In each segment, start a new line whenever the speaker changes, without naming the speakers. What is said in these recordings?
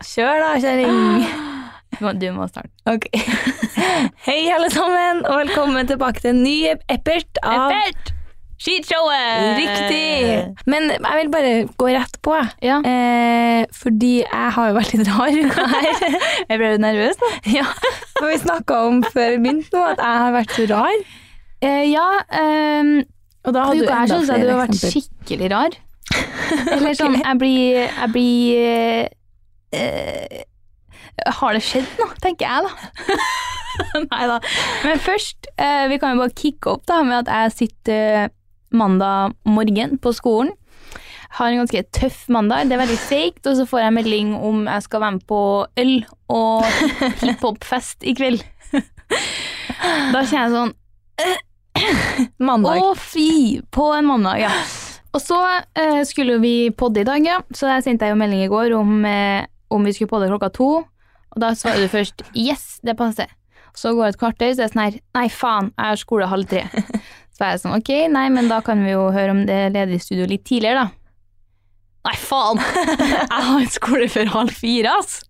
Kjør da, kjerring.
Du må, du må starte.
Ok. Hei, alle sammen, og velkommen tilbake til en ny Eppert av
Eppert! Skishowet!
Ah. Riktig! Men jeg vil bare gå rett på, jeg.
Ja.
Eh, fordi jeg har jo vært litt rar uka her.
Jeg ble nervøs, da.
ja, for vi snakka om før vi begynte nå, at jeg har vært så rar.
Eh, ja, ehm,
Og da
uka her syns jeg du har vært
eksempler.
skikkelig rar. Eller sånn, jeg blir, jeg blir eh, Har det skjedd nå, tenker jeg da. Nei da. Men først, eh, vi kan jo bare kicke opp da med at jeg sitter eh, mandag morgen på skolen. Har en ganske tøff mandag, det er veldig seigt, og så får jeg melding om jeg skal være med på øl og hiphopfest i kveld. Da kjenner jeg sånn
Mandag.
å, fy! På en mandag, ja. Og så eh, skulle jo vi podde i dag, ja. Så der sendte jeg jo melding i går om, eh, om vi skulle podde klokka to. Og da svarer du først 'yes, det passer'. Så går det et kvarter, så er det sånn her 'nei, faen, jeg har skole halv tre'. Så er jeg sånn 'ok, nei, men da kan vi jo høre om det er ledig studio litt tidligere', da. Nei, faen! Jeg har skole før halv fire, ass!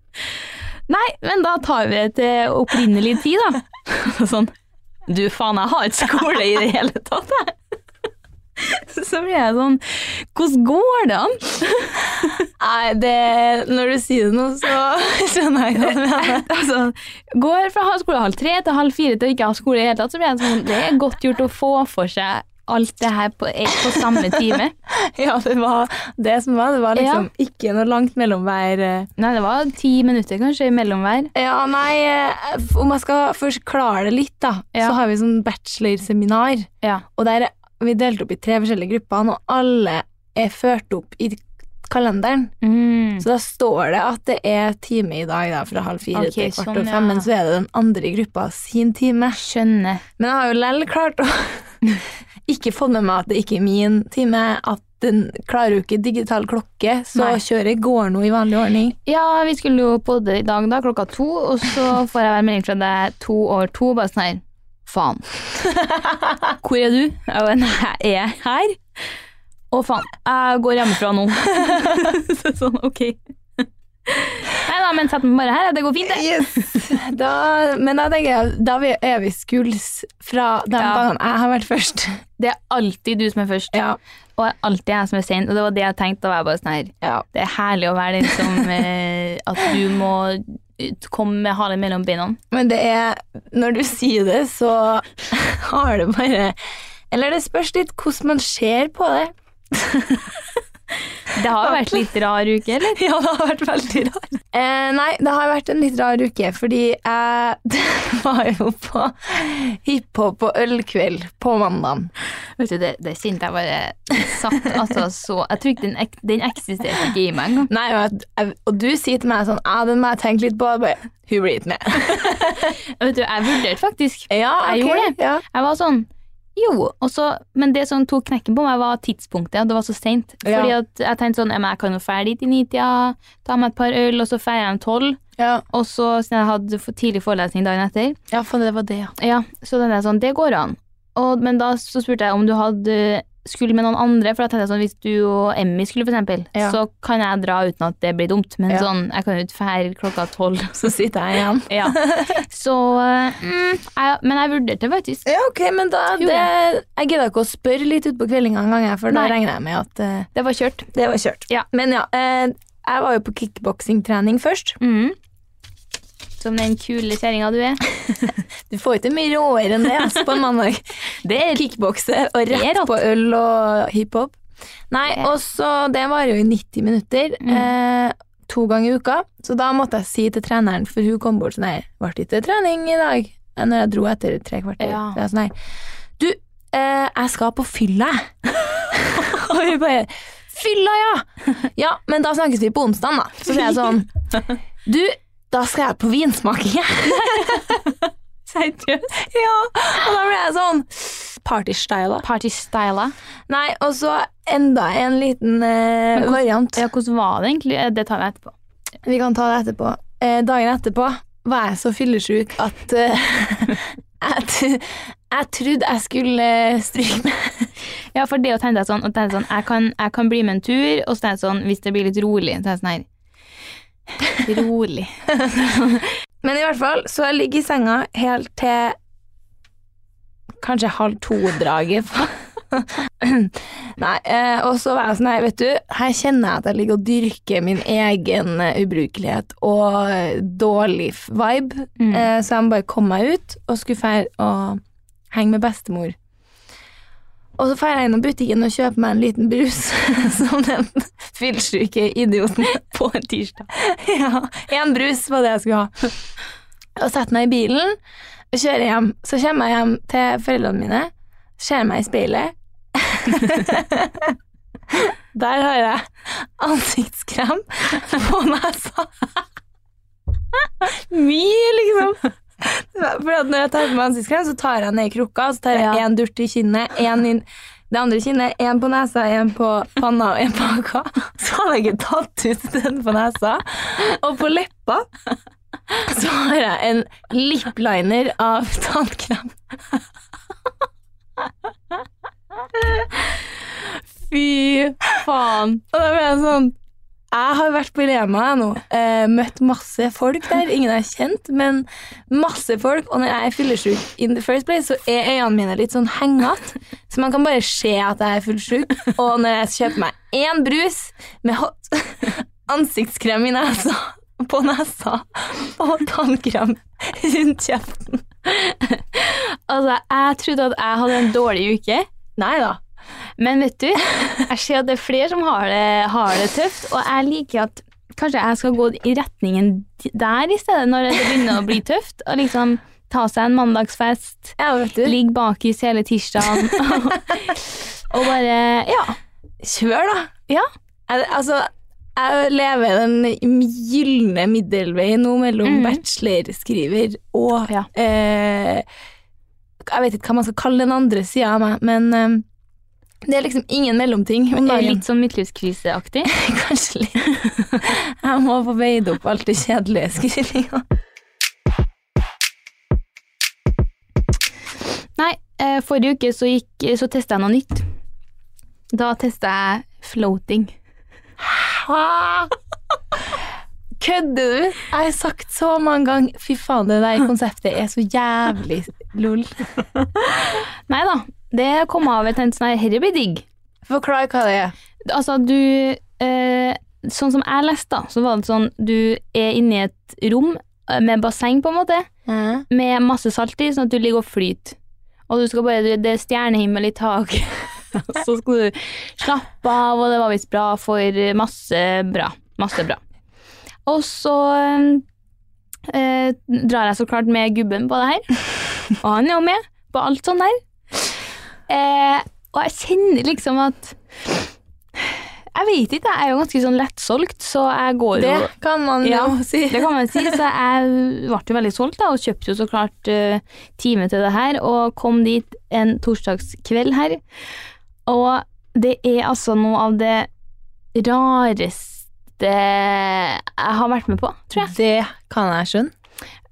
Nei, men da tar vi det til opprinnelig tid, da. Sånn du faen, jeg har ikke skole i det hele tatt, jeg. Så blir jeg sånn, hvordan går det an?
Nei, det Når du sier det nå, så skjønner jeg hva du mener.
Altså, går fra å ha skole halv tre til halv fire til å ikke ha skole i det hele tatt, så blir jeg sånn, det er godt gjort å få for seg alt det her på, eh, på samme time.
Ja, det var det som var. Det var liksom ikke noe langt mellom hver eh,
Nei, det var ti minutter kanskje mellom hver.
Ja, nei, eh, f- om jeg skal først klare det litt, da,
Ja.
så har vi sånn bachelorseminar.
Ja.
Og der er- vi delt opp i tre forskjellige grupper, og alle er ført opp i kalenderen.
Mm.
Så da står det at det er time i dag, da, fra halv fire
Ok,
til kvart
sånn,
over
ja.
fem, men så er det den andre gruppa sin time.
Skjønner.
Men jeg har jo lell klart å ikke fått med meg at det ikke er min time, at den klarer jo ikke digital klokke, så
Nei.
kjøret går nå i vanlig ordning.
Ja, vi skulle jo podde i dag da, klokka to, og så får jeg være melding fra deg to over to, bare sånn her, faen. Hvor er du? Jeg bare, nei, jeg er her. Å faen, jeg går hjemmefra nå. så sånn, ok. Nei da, men sett meg bare her, det går fint det.
Yes. Da, men da tenker jeg da vi- er vi skuls fra de
Ja.
gangene jeg har vært først.
Det er alltid du som er først,
Ja.
og det er alltid jeg som er sen, og det var det jeg tenkte, da var jeg bare sånn her,
Ja.
det er herlig å være den som, eh, at du må eh, komme med halen mellom beina.
Men det er Når du sier det, så har det bare Eller det spørs litt hvordan man ser på det.
Det har jo vært litt rar uke, eller?
Ja, det har vært veldig rart. Eh, nei, det har vært en litt rar uke, fordi jeg var jo på hiphop og ølkveld på mandag.
Vet du, det, det sinte jeg bare satt altså så Jeg tror ikke den, ek- den eksisterte ikke i meg engang.
Nei, og, jeg, og du sier til meg sånn Ja, den må jeg tenke litt på. Jeg bare, Hun blir ikke med.
Vet du, jeg vurderte faktisk.
Ja,
Jeg
ok,
gjorde det.
Ja.
Jeg var sånn jo, og så, men det som tok knekken på meg, var tidspunktet. og Det var så seint.
Ja.
Fordi at jeg tenkte sånn ja, men Jeg kan jo dra dit i nitida, ta meg et par øl, og så feirer jeg om tolv.
Ja.
Og så, siden jeg hadde for tidlig forelesning dagen etter,
Ja, for det var det, ja.
Ja, så den er sånn, det går an. Og, men da så spurte jeg om du hadde eh, skulle med noen andre, for da tenkte jeg sånn, hvis du og Emmy skulle for eksempel,
Ja.
så kan jeg dra uten at det blir dumt, men
Ja.
sånn, jeg kan jo ikke fære klokka tolv.
Så sitter jeg igjen.
Ja. så, eh, mm, jeg, men jeg vurderte faktisk.
Ja, ok, men da
Jo,
det, Jeg gidder ikke å spørre litt utpå kveldinga en gang, jeg, for da
Nei.
regner jeg med at eh,
Det var kjørt.
det var kjørt.
Ja.
Men ja, eh, jeg var jo på kickboksingtrening først.
Mm. Som den kule kjæringa du er.
Du får ikke mye råere enn det altså, på en mandag.
Det er
Kickbokse og
Det er
rett
rått.
på øl og hiphop. Nei,
Det-
og så Det varer jo i 90 minutter.
Mm.
Eh, to ganger i uka. Så da måtte jeg si til treneren, for hun kom bort sånn her Ble det ikke trening i dag? Eh, Når jeg dro etter tre kvarter.
Ja.
Så jeg sånn her Du, eh, jeg skal på fylla, jeg. og vi bare Fylla, ja! Ja, men da snakkes vi på onsdag, da. Så sier jeg sånn Du, da skal jeg på vinsmaking, jeg.
seriøst.
Ja, og da ble jeg sånn Partystyla.
Partystyla.
Nei, og så enda en liten eh,
Men hvordan-
variant.
Ja, hvordan var det egentlig? Eh, Det tar vi etterpå.
Vi kan ta det etterpå. Eh, dagen etterpå var jeg så fyllesyk at eh, jeg, tr- jeg trodde jeg skulle eh, stryke meg.
Ja, for det å tenke deg sånn, og tenke sånn jeg, kan, jeg kan bli med en tur, og så tenker jeg sånn, hvis det blir litt rolig, så tenker jeg sånn her Rolig.
Men i hvert fall, så jeg ligger i senga helt til kanskje halv to-draget. Nei, eh, og så var jeg sånn her, vet du, her kjenner jeg at jeg ligger og dyrker min egen eh, ubrukelighet og eh, dårlig f- vibe,
Mm.
eh, så jeg må bare komme meg ut og skulle feire og henge med bestemor. Og så feirer jeg innom butikken og kjøper meg en liten brus, som den fyllsyke idioten
På en tirsdag.
ja, en brus var det jeg skulle ha. Og setter meg i bilen, kjører hjem. Så kommer jeg hjem til foreldrene mine, ser meg i speilet. Der har jeg ansiktskrem på nesa. Mye, liksom. For at når jeg tar på meg ansiktskrem, så tar jeg ned i krukka, så tar jeg
Ja.
én durt i kinnet, én inn det andre kinnet, én på nesa, én på panna og én på haka. Så hadde jeg ikke tatt ut den på nesa. Og på leppa så har jeg en lipliner av tannkrem.
Fy faen.
Og da ble jeg sånn Jeg har vært på Rema jeg, nå. Eh, møtt masse folk der. Ingen jeg har kjent, men masse folk. Og når jeg er fyllesyk in the first place, så er øynene mine litt sånn hengete. Så man kan bare se at jeg er fullsyk. Og når jeg kjøper meg én brus med hot ansiktskrem i nesa, på nesa og tannkrem rundt kjeften
Altså, jeg trodde at jeg hadde en dårlig uke,
Nei da.
men vet du, jeg ser at det er flere som har det, har det tøft, og jeg liker at kanskje jeg skal gå i retningen der i stedet, når det begynner å bli tøft, og liksom ta seg en mandagsfest,
Ja, vet du.
ligge bakis hele tirsdagen, og, og bare, ja,
Kjør, da.
Ja.
Jeg, altså, jeg lever den gylne middelveien nå mellom
Mhm.
bachelorskriver og
Ja.
eh, Jeg vet ikke hva man skal kalle den andre sida av meg, men eh, det er liksom ingen mellomting om
det er
dagen.
litt sånn midtlivskriseaktig.
Kanskje litt. Jeg må få veid opp alt det kjedelige skrivinga.
Nei, eh, forrige uke så, gikk, eh, så testet jeg noe nytt. Da testet jeg floating.
Kødder du? Jeg har sagt så mange ganger Fy faen, det der konseptet er så jævlig lol.
Nei da, det kom av et hent sånn her, herre blir digg.
Forklar hva det er.
Altså, du eh, Sånn som jeg leste, da, så var det sånn Du er inne i et rom eh, med basseng, på en måte,
Eh?
med masse salt i, sånn at du ligger og flyter. Og du skal bare Det er stjernehimmel i taket. Og så skal du slappe av, og det var visst bra for masse bra. Masse bra. Og så eh, drar jeg så klart med gubben på det her. Og han er jo med på alt sånn der. Eh, og jeg kjenner liksom at Jeg vet ikke, jeg er jo ganske sånn lettsolgt, så jeg går jo
Det kan man
Ja.
jo si.
det kan man si, så jeg ble jo veldig solgt da, og kjøpte jo så klart eh, time til det her, og kom dit en torsdagskveld her. Og det er altså noe av det rareste jeg har vært med på, tror jeg.
Det kan jeg skjønne.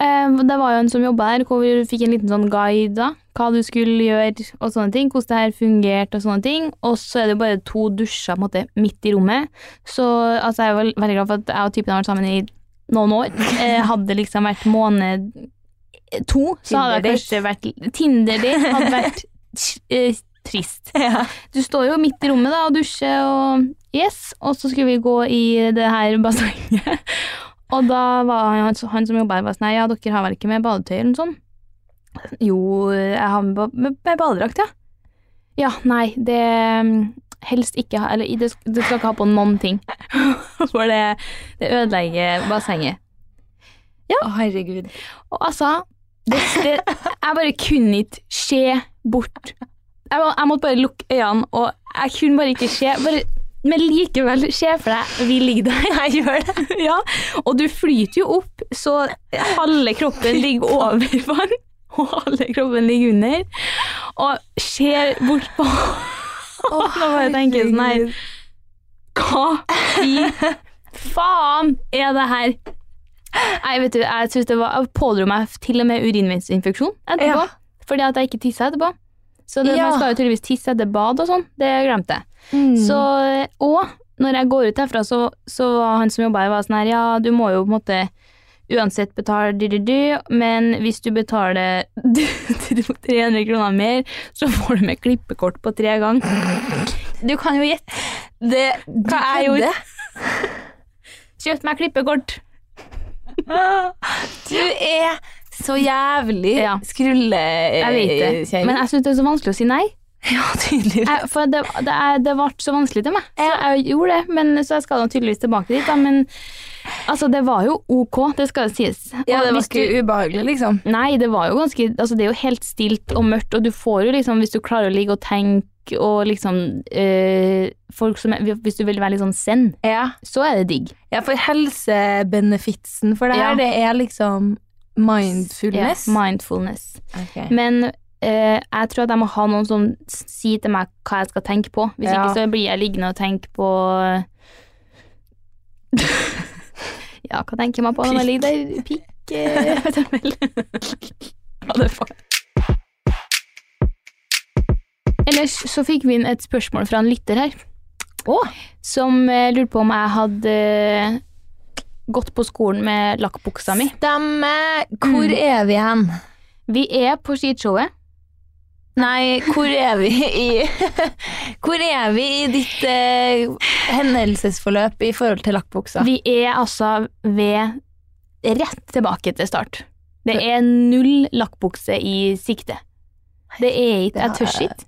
Eh, det var jo en som jobba her, hvor vi fikk en liten sånn guide, da, hva du skulle gjøre og sånne ting, hvordan det her fungerte og sånne ting. Og så er det jo bare to dusjer på en måte, midt i rommet. Så altså, jeg er vel- veldig glad for at jeg og typen har vært sammen i noen år. Eh, hadde det liksom vært måned to, så hadde det kanskje vært Tinder-date hadde vært eh, trist. Du står jo midt i rommet da og dusjer og yes, og så skulle vi gå i det her bassenget. Og da var han, han som jobba her, bare sånn Nei, ja, dere har vel ikke med badetøy eller noe sånt? Jo, jeg har med, ba- med, med badedrakt, ja. Ja, nei, det mm, helst ikke ha Eller det, sk- du skal ikke ha på noen ting. For det, det ødelegger bassenget.
Å, herregud.
Og altså det, det, Jeg bare kunne ikke se bort. Jeg, må, jeg måtte bare lukke øynene, og jeg kunne bare ikke se. Bare, men likevel, se for deg, vi ligger der. Jeg gjør det. Ja, og du flyter jo opp, så halve kroppen ligger over vann, og halve kroppen ligger under, og ser bort på
Å,
Nå bare tenker jeg sånn her
herregud.
hva i faen er det her? Nei, vet du, jeg synes det var Jeg pådro meg til og med urinveisinfeksjon etterpå.
Ja.
Fordi at jeg ikke tissa etterpå. Så det,
Ja.
man skal jo tydeligvis tisse etter bad og sånn. Det glemte jeg.
Mm.
Så, og når jeg går ut herfra, så, så var han som jobba her, var sånn her Ja, du må jo på en måte uansett betale dy-dy-dy, men hvis du betaler 300 kroner mer, så får du med klippekort på tre ganger. Du kan jo gjette.
Det,
Hva jeg
du
gjorde?
kødder.
Kjøpt meg klippekort.
Du er så jævlig
Ja.
skrulle... eh,
Jeg vet det. Men jeg syns det er så vanskelig å si nei.
Ja, tydeligvis.
Jeg, for det, det, er, det ble så vanskelig til meg. Så jeg gjorde det, men, så jeg skal nå tydeligvis tilbake dit. Da, men altså, det var jo ok, det skal jo sies. Og
Ja, det var
hvis du-
ikke ubehagelig, liksom.
Nei, det var jo ganske Altså, det er jo helt stilt og mørkt, og du får jo liksom, hvis du klarer å ligge og tenke og liksom eh, folk som er, Hvis du vil være litt sånn zen,
Ja.
så er det digg.
Ja, for helsebenefitsen for det her,
Ja.
det er liksom mindfulness.
Ja, mindfulness.
Ok.
Men eh, jeg tror at jeg må ha noen som s- sier til meg hva jeg skal tenke på. Hvis
Ja.
ikke så blir jeg liggende og tenke på Ja, hva tenker man på når man ligger der? Pikk? eh, vet jeg vel. Ja, det er fuck. Ellers så fikk vi inn et spørsmål fra en lytter her.
Å.
Som eh, lurte på om jeg hadde eh, gått på skolen med lakkbuksa mi.
Stemmer! Hvor
Mm.
er vi hen?
Vi er på skishowet.
Nei, hvor er vi i Hvor er vi i ditt eh, hendelsesforløp i forhold til lakkbuksa?
Vi er altså ved rett tilbake til start. Det er null lakkbukse i sikte. Det er ikke Jeg tør ikke.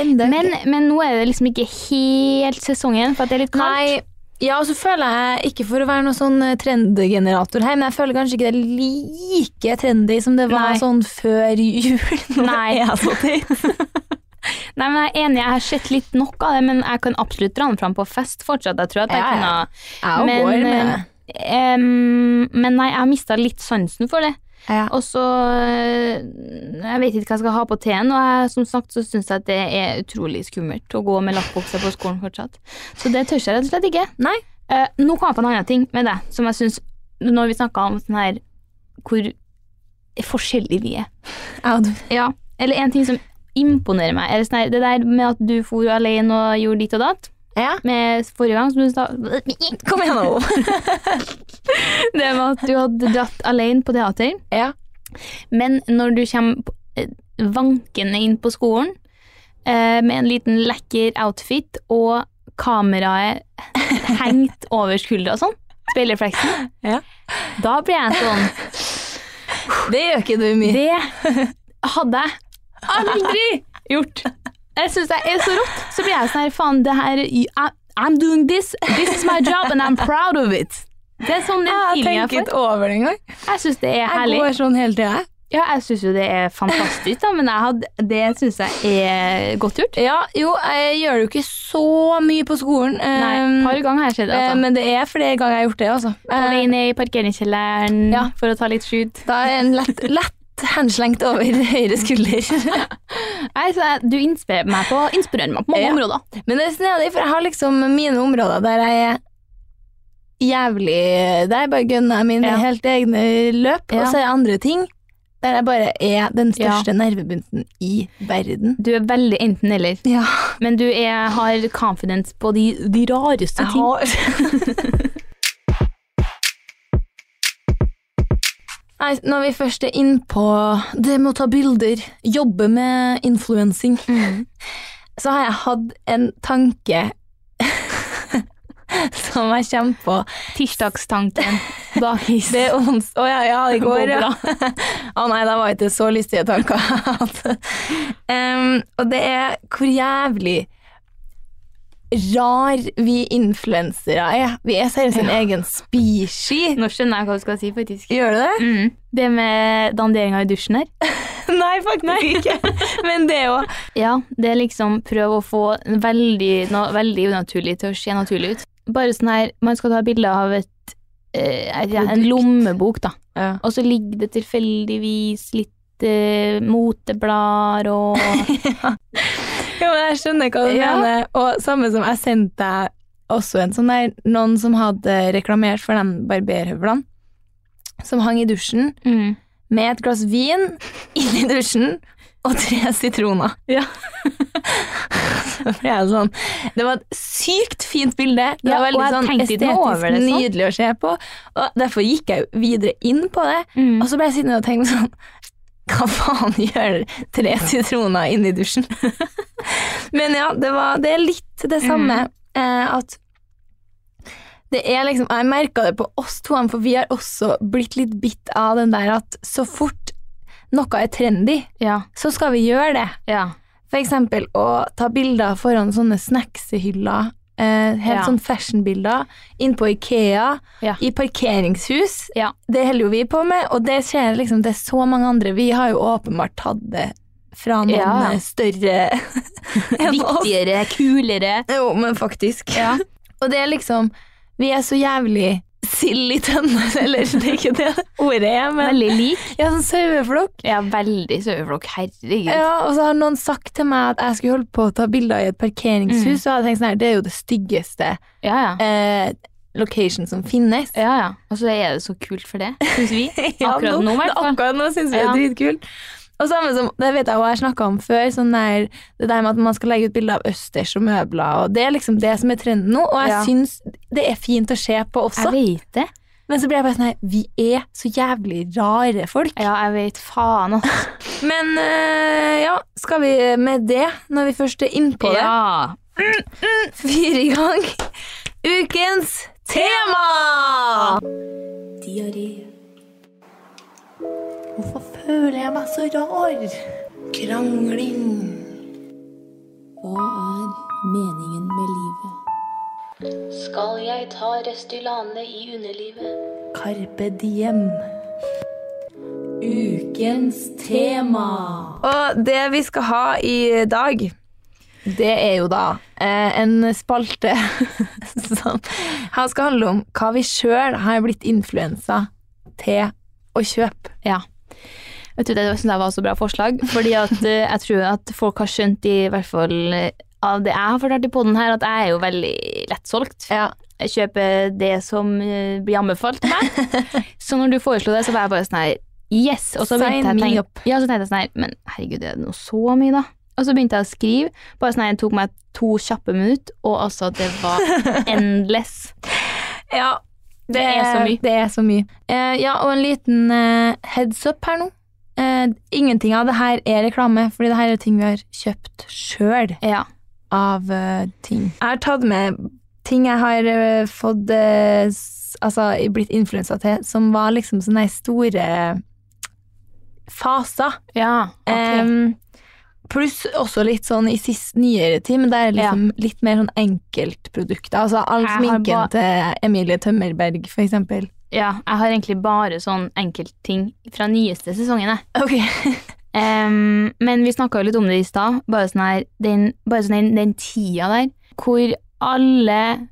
Enda
Men, men nå er det liksom ikke helt sesongen, for at det er litt kaldt.
Nei. Ja, og så føler jeg, ikke for å være noen sånn eh, trendgenerator her, men jeg føler kanskje ikke det er like trendy som det var
Nei.
sånn før jul. Nå
Nei.
er jeg så teit.
Nei, men Jeg er enig, jeg har sett litt nok av det, men jeg kan absolutt dra den fram på fest fortsatt. Jeg tror at jeg
Ja,
kunne
ja.
ha
Jeg
Men,
går med
eh, Em, men nei, jeg har mista litt sansen for det.
Ja.
Og så eh, Jeg vet ikke hva jeg skal ha på teen, og jeg, som sagt så syns jeg at det er utrolig skummelt å gå med lakkbukse på skolen fortsatt. Så det tør jeg rett og slett ikke.
Nei.
Eh, nå kom jeg på en annen ting med deg, som jeg syns Når vi snakka om sånn her hvor forskjellige vi er.
Ja, du-
Ja, eller en ting som imponerer meg, er det, sånn her, det der med at du for alene og gjorde ditt og datt.
ja.
Med forrige gang som du sa
Kom igjen, nå.
Det var at du hadde dratt alene på teater,
Ja.
men når du kommer på- eh, vankende inn på skolen eh, med en liten lekker outfit og kameraet hengt over skuldra og sånn, speilrefleksen,
Ja.
da blir jeg sånn
Det gjør ikke du mye.
Det hadde jeg aldri gjort. Jeg syns det er så rått. Så blir jeg sånn her, faen, det her I- I'm doing this, this is my job, and I'm proud of it. Det er sånn den
Jeg
feelingen
har
jeg får.
tenkt over det engang.
Jeg syns det er
Jeg
herlig.
går sånn hele tida.
Ja, jeg syns jo det er fantastisk, da, men jeg hadde, det syns jeg er godt gjort.
Ja, jo, jeg gjør det jo ikke så mye på skolen.
Nei,
ehm,
et par ganger har jeg sett det.
eh,
Altså.
Men det er flere ganger jeg har gjort det, altså.
På
Eh,
vei ned i parkeringskjelleren
Ja.
for å ta litt shoot.
Da er en lett, lett henslengt over høyre skulder.
Nei, så jeg- du inspirerer meg på, inspirerer meg på mange
Ja.
områder.
Men det er snedig, for jeg har liksom mine områder der jeg er jævlig Der bare gønner jeg mine
Ja.
helt egne løp,
Ja.
og så er det andre ting der jeg bare er den største nervebunten i verden.
Du er veldig enten-eller,
Ja.
men du er, har confidence på de, de rareste ting.
Nei, når vi først er innpå det med å ta bilder, jobbe med influensing,
Mm.
så har jeg hatt en tanke som jeg kommer på.
Tirsdagstanken. Bakis.
Det er ons... Å ja, ja, i går, ja.
Bobla.
Å nei, da var ikke det så lystige tanker jeg hadde. Em, og det er hvor jævlig rar vi influensere er. Vi er seriøst en egen species.
Nå skjønner jeg hva du skal si, faktisk.
Gjør du det?
Mm. Det med danderinga i dusjen her.
Nei, faktisk ikke. Men det òg.
Ja, det er liksom prøv å få en veldig, noe veldig unaturlig til å se naturlig ut. Bare sånn her, man skal ta bilde av et, eh, jeg vet ikke, en
Produkt.
lommebok da,
Ja.
og så ligger det tilfeldigvis litt eh, moteblader og
men jeg skjønner hva du
Ja.
mener. Og samme som jeg sendte deg også en sånn der, noen som hadde reklamert for de barberhøvlene, som hang i dusjen
mm.
med et glass vin inni dusjen og tre sitroner.
Ja.
Da ble jeg sånn. Det var et sykt fint bilde. Det
Ja,
var veldig
og jeg
sånn
tenkte ikke noe
estetisk
over det, sånn.
nydelig å se på. Og derfor gikk jeg jo videre inn på det,
Mm.
og så ble jeg sittende og tenke sånn Hva faen gjør tre sitroner inne i dusjen? Men ja, det, var, det er litt det samme eh, at det er liksom, Jeg merka det på oss to, for vi har også blitt litt bitt av den der at så fort noe er trendy,
Ja.
så skal vi gjøre det.
Ja.
For eksempel å ta bilder foran sånne snacksehyller, eh, helt
Ja.
sånn fashionbilder, inn på Ikea,
Ja.
i parkeringshus.
Ja.
Det holder jo vi på med, og det skjer liksom, det er så mange andre. Vi har jo åpenbart tatt det fra noen
Ja.
eh, større enn oss.
Viktigere, kulere.
Jo, men faktisk.
Ja.
Og det er liksom, vi er så jævlig sild i tønne, eller det er ikke det ordet er, men
Veldig lik.
ja, sånn saueflokk.
Ja, veldig saueflokk. Herregud.
Ja, og så har noen sagt til meg at jeg skulle holde på å ta bilder i et parkeringshus,
Mm.
og jeg hadde tenkt sånn her, det er jo det styggeste
Ja, ja.
eh, location som finnes.
Ja, ja. Og så er det så kult for det, syns vi.
Ja,
Akkurat nå, i hvert fall.
Akkurat nå syns vi det
Ja.
er dritkult. Og samme som, det vet jeg også jeg snakka om før, sånn der, det der med at man skal legge ut bilder av østers og møbler, og det er liksom det som er trenden nå, og jeg
Ja.
syns det er fint å se på også.
Jeg vet det.
Men så blir jeg bare sånn her, vi er så jævlig rare folk.
Ja, jeg vet faen, altså.
Men eh, ja, skal vi med det, når vi først er innpå det?
Ja.
Fyr i gang ukens tema! Diaré. Hvorfor føler jeg meg så rar? Krangling.
Hva er meningen med livet?
Skal jeg ta Restylane i underlivet?
Carpe diem.
Ukens tema!
Og det vi skal ha i dag, det er jo da eh, en spalte som her skal handle om hva vi sjøl har blitt influensa til å kjøpe.
Ja. Vet du, Det synes jeg var så bra forslag, fordi at eh, jeg tror at folk har skjønt, i hvert fall eh, av det jeg har fortalt i poden her, at jeg er jo veldig lettsolgt.
Ja.
Jeg kjøper det som eh, blir anbefalt til meg. Så når du foreslo det, så var jeg bare sånn her Yes! Og så
Sign
begynte jeg
me
tenk-
up.
Ja, så tenkte jeg sånn her Men herregud, er det nå så mye, da? Og så begynte jeg å skrive. Bare sånn her, Det tok meg to kjappe minutter, og altså, det var endless.
Ja, det,
er så mye.
Det er så mye. Eh, ja, og en liten eh, heads up her nå. Eh, ingenting av det her er reklame, fordi det her er ting vi har kjøpt sjøl
Ja.
av eh, ting. Jeg har tatt med ting jeg har eh, fått eh, s- Altså blitt influensa til, som var liksom sånne her store faser.
Ja. ok.
Em, Pluss også litt sånn i sist nyere tid, men det er liksom litt mer sånn enkeltprodukter. Altså all
Jeg har ba-
sminken til Emilie Tømmerberg, for eksempel.
Ja, jeg har egentlig bare sånn enkeltting fra nyeste sesongen, jeg.
Ok.
Em, men vi snakka jo litt om det i stad. Bare sånn her den, Bare sånn den, den tida der hvor alle,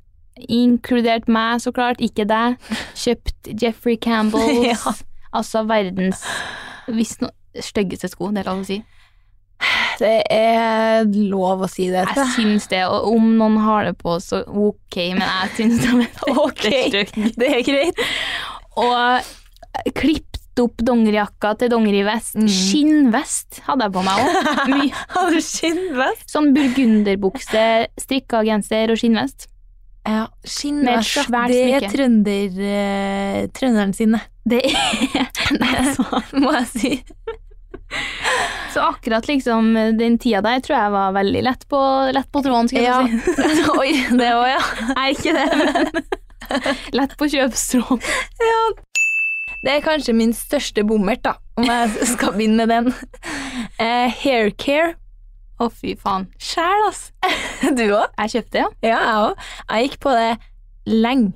inkludert meg så klart, ikke deg, kjøpt Jeffrey Campbells
Ja.
Altså verdens hvis no, styggeste sko, det er lov å si.
Det er lov å si det.
Jeg syns det, og om noen har det på, så ok, men jeg syns de er stygge.
det er greit.
Og klippet opp dongerijakka til dongerivest.
Mm.
Skinnvest hadde jeg på meg òg.
Har du skinnvest?
Sånn burgunderbukse, strikka genser og skinnvest.
Ja,
Med et
skinnvest. ja.
svært
Det er
smykke.
trønder, eh, trønderen sine,
Det er
må jeg si.
Så akkurat liksom den tida der tror jeg var veldig lett på, lett på tråden, skulle
Ja.
jeg si.
Oi, det òg, ja.
Nei, ikke det, men lett på kjøpstråden.
Det er kanskje min største bommert, da, om jeg skal begynne med den. Eh, Haircare.
Å, fy faen.
Sjæl, ass. Du òg?
Jeg kjøpte, ja.
Ja, jeg òg. Jeg gikk på det lenge.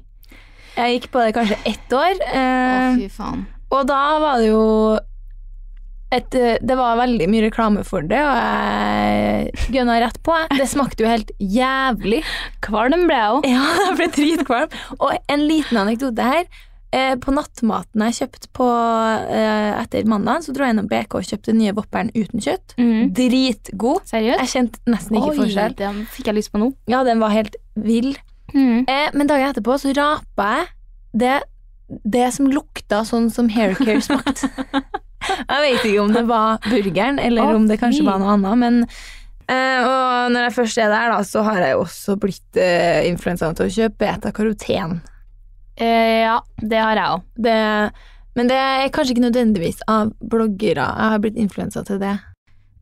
Jeg gikk på det kanskje ett år.
Å,
Eh,
fy faen.
Og da var det jo et, eh, det var veldig mye reklame for det, og jeg gønna rett på. jeg. Det smakte jo helt jævlig.
Kvalm ble jeg òg.
Ja, jeg ble dritkvalm. Og en liten anekdote her. Eh, På nattmaten jeg kjøpte på, eh, etter mandag, så dro jeg innom BK og kjøpte den nye Vopperen uten kjøtt.
Mhm.
Dritgod.
Seriøst?
Jeg kjente nesten ikke forskjell.
den fikk jeg lyst på nå.
Ja, den var helt vill.
Mm.
Mhm.
Eh, Men dagen etterpå så rapa jeg det, det som lukta sånn som haircare smakte. Jeg vet ikke om det var burgeren, eller
Å,
om det kanskje
fy.
var noe annet, men eh, og når jeg først er der, da, så har jeg jo også blitt eh, influensa til å kjøpe beta-karoten.
Eh, ja, det har jeg òg.
Det, men det er kanskje ikke nødvendigvis av bloggere. Jeg har blitt influensa til det.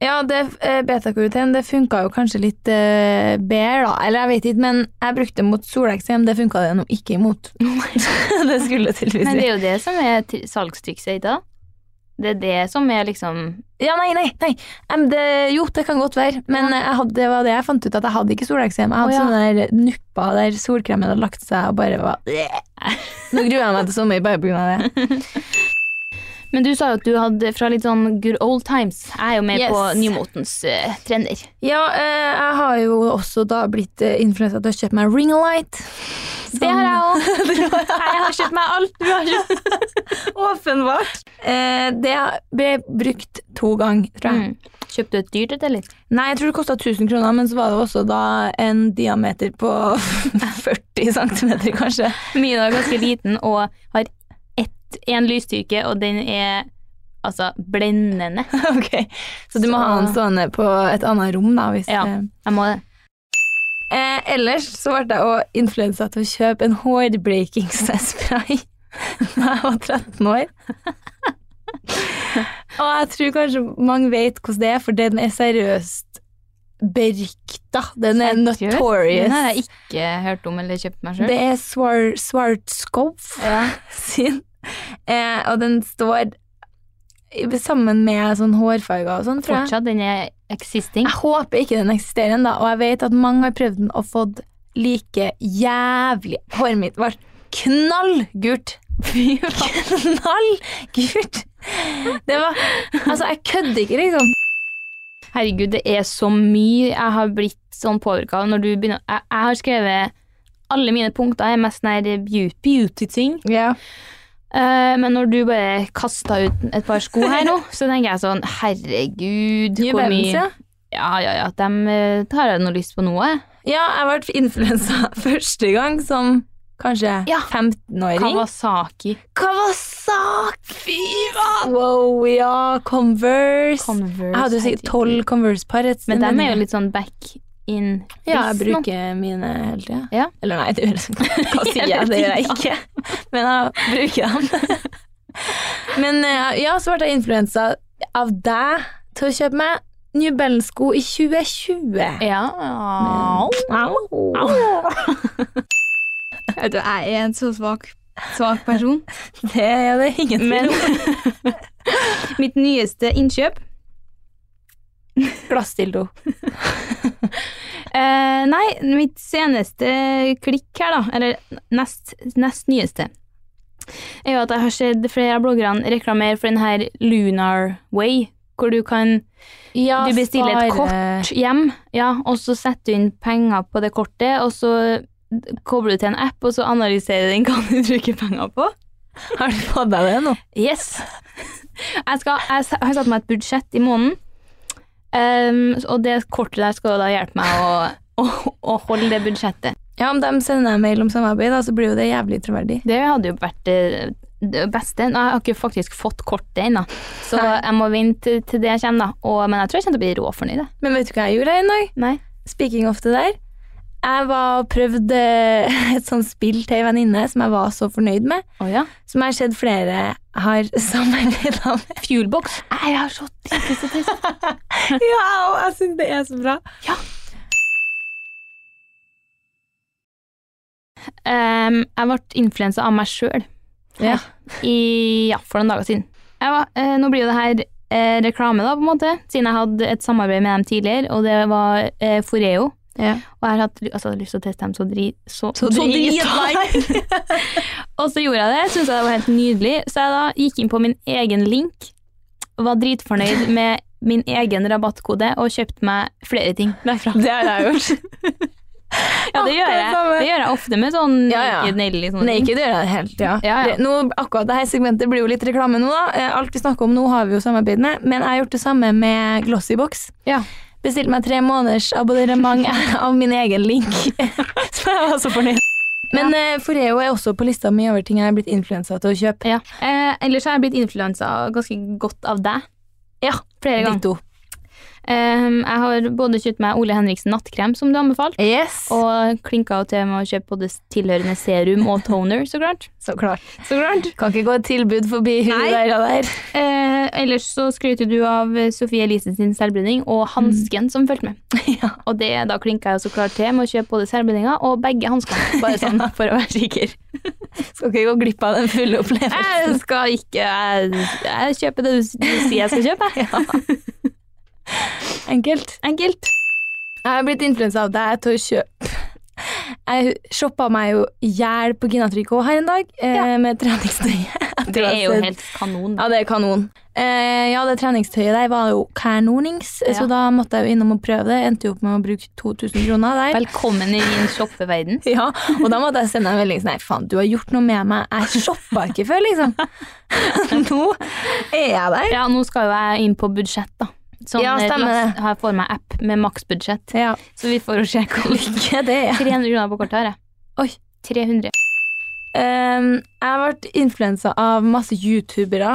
Ja, det eh, beta-karoten det funka jo kanskje litt eh, bedre, da. Eller jeg vet ikke, men jeg brukte det mot soleksem. Det funka det nå ikke imot. det skulle tydeligvis
Men det
si.
er jo det som er ti- salgstrikset, ikke sant? Det er det som er liksom
Ja, nei, nei. nei. Em, det, jo, det kan godt være, men eh, jeg hadde, det var det jeg fant ut, at jeg hadde ikke soleksem. Jeg hadde
Å, ja.
sånne der nupper der solkremen hadde lagt seg og bare var Nå gruer jeg meg til sommer bare på grunn av det.
Men du sa jo at du hadde fra litt sånn good old times. Jeg er jo med
Yes.
på nymotens eh, trender.
Ja, eh, jeg har jo også da blitt eh, influensa til å kjøpe meg ring light.
Det har jeg òg. Jeg Sånn. har kjøpt meg alt. Du har kjøpt
Åpenbart. Eh, det ble brukt to ganger, tror jeg.
mm. Kjøpte du et dyrt et, eller?
Nei, jeg tror det kosta 1000 kroner, men så var det også da en diameter på 40 cm, kanskje.
Min er ganske liten og har ett, en lysstyrke, og den er altså blendende.
Ok, Så du må
Så-
ha den stående på et annet rom, da. Hvis
Ja.
eh.
Jeg må det.
Eh, ellers så ble jeg også influensa til å kjøpe en hårblekingsspray da jeg var 13 år. Og jeg tror kanskje mange vet hvordan det er, for den er seriøst berikta. Den
Seriøst? Den
er
har jeg
notorious.
ikke hørt om eller kjøpt meg sjøl.
Det er Swar Swartskov
Ja.
sin, eh, og den står i- sammen med sånn hårfarger og sånn, tror jeg.
Fortsatt, den er existing.
Jeg håper ikke den eksisterer ennå, og jeg vet at mange har prøvd den og fått like jævlig Håret mitt var knallgult. knallgult! Det var Altså, jeg kødder ikke, liksom.
Herregud, det er så mye jeg har blitt sånn påvirka av når du begynner jeg, jeg har skrevet alle mine punkter er mest sånn nær beauty-ting. Eh, men når du bare kasta ut et par sko her nå, så tenker jeg sånn Herregud,
New
hvor
Balance,
mye
ja.
Ja, ja, ja. Dem eh, tar jeg noe lyst på nå, jeg.
Ja, jeg ble influensa første gang som kanskje
Ja.
15-åring.
Kawasaki
Kawasaki! Fy faen! Wow, ja. Converse.
Converse.
jeg hadde jo sikkert tolv Converse-par. et sted,
Men dem er jo
jeg.
litt sånn back in
Ja,
business
jeg
nå.
bruker mine hele tida.
Ja.
Eller nei, det gjør jeg ikke. Hva sier jeg? Det gjør jeg ikke. Men jeg bruker dem. Men eh, ja, så ble jeg influensa av deg til å kjøpe meg New Balance-sko i 2020.
Ja.
Au.
Vet du, jeg er en så svak, svak person.
Det er det ingen tvil
Men
om.
mitt nyeste innkjøp
Glassdildo.
eh, Nei, mitt seneste klikk her, da, eller nest, nest nyeste, er jo at jeg har sett flere av bloggerne reklamere for den her Lunar Way, hvor du kan
Ja,
Du bestiller et
spare-
hjem, ja, og så setter du inn penger på det kortet, og så kobler du til en app, og så analyserer den hva du bruker penger på.
Har du fått deg det nå?
Yes! Jeg, skal, jeg s- har satt meg et budsjett i måneden, Ehm, og det kortet der skal jo da hjelpe meg å, å, å holde det budsjettet.
Ja, om de sender deg mail om samarbeid, da, så blir jo det jævlig troverdig.
Det hadde jo vært det, det beste. Nå, jeg har ikke faktisk fått kortet ennå, så jeg må vente til det kommer, da. Og, men jeg tror jeg kommer til å bli råfornøyd. jeg.
Men vet du hva jeg gjorde her en dag?
Nei.
Speaking of det der. Jeg var og prøvde eh, et sånt spill til ei venninne som jeg var så fornøyd med.
Å ja.
Som jeg har sett flere har samarbeida med.
Fuelbox. Jeg har så tidligst og trist.
Ja, og jeg syns det er så bra.
Ehm, jeg ble influensa av meg sjøl
Ja.
ja, for noen dager siden. Jeg var, eh, nå blir jo det her eh, reklame, da, på en måte, siden jeg hadde et samarbeid med dem tidligere, og det var eh, Foreo.
Ja.
Og jeg har hatt, altså, jeg hadde lyst til å teste dem så dri... Så,
Så dritlang.
og så gjorde jeg det. Syntes jeg det var helt nydelig. Så jeg da gikk inn på min egen link, var dritfornøyd med min egen rabattkode og kjøpte meg flere ting derfra.
Det har jeg gjort.
Ja, det gjør jeg, det gjør jeg ofte med sånn
Ja, ja.
Naked Nelly. Sånn.
Naked gjør jeg helt, ja.
Ja, ja.
Det, nå, akkurat dette segmentet blir jo litt reklame nå, da. Eh, Alt vi snakker om nå, har vi jo samarbeid med. Men jeg har gjort det samme med Glossybox.
Ja.
Bestilte meg tre måneders abonnement av min egen link. så jeg var så fornøyd. Men eh, Foreo er også på lista mi over ting jeg er blitt influensa til å kjøpe.
Ja. Eh, ellers har jeg blitt influensa ganske godt av deg.
Ja,
flere ganger.
Ditto.
Eh, jeg har både kjøpt meg Ole Henriksen nattkrem, som du anbefalte,
Yes.
og klinka til med å kjøpe både tilhørende serum og toner, så klart.
så klart.
Så klart.
Kan ikke gå et tilbud forbi hun
Nei.
der og der.
Eh, ellers så skryter du av Sofie Elise sin selvbrenning og hansken som fulgte med. Og det, da klinka jeg så klart til med å kjøpe både selvbrenninga og begge hanskene, bare sånn for å være sikker.
Skal ikke gå glipp av den fulle opplevelsen.
Jeg skal ikke Jeg, jeg kjøper det du, s- du sier jeg skal kjøpe.
Enkelt.
Enkelt.
Jeg har blitt influensa av deg til å kjøpe. Jeg shoppa meg jo i hjel på Gina Tricot her en dag eh, med treningstøy. Etter
Det
å ha
er jo
sett-
helt kanon.
Ja, det er kanon. Eh, ja, det treningstøyet der var jo Kernonings, så
Ja.
da måtte jeg jo innom og prøve det. Endte jo opp med å bruke 2000 kroner der.
Velkommen i min shoppeverden.
Ja, og da måtte jeg sende en melding sånn Nei, faen, du har gjort noe med meg. Jeg shoppa ikke før, liksom. Nå er jeg der.
Ja, nå skal jo jeg inn på budsjett, da. Sånn,
Ja, stemmer
eh,
det.
Her får jeg app med maksbudsjett,
Ja,
så vi får jo se hva
lykke det.
300 kroner på kortet har jeg.
Oi.
300.
Um, jeg har vært influensa av masse youtubere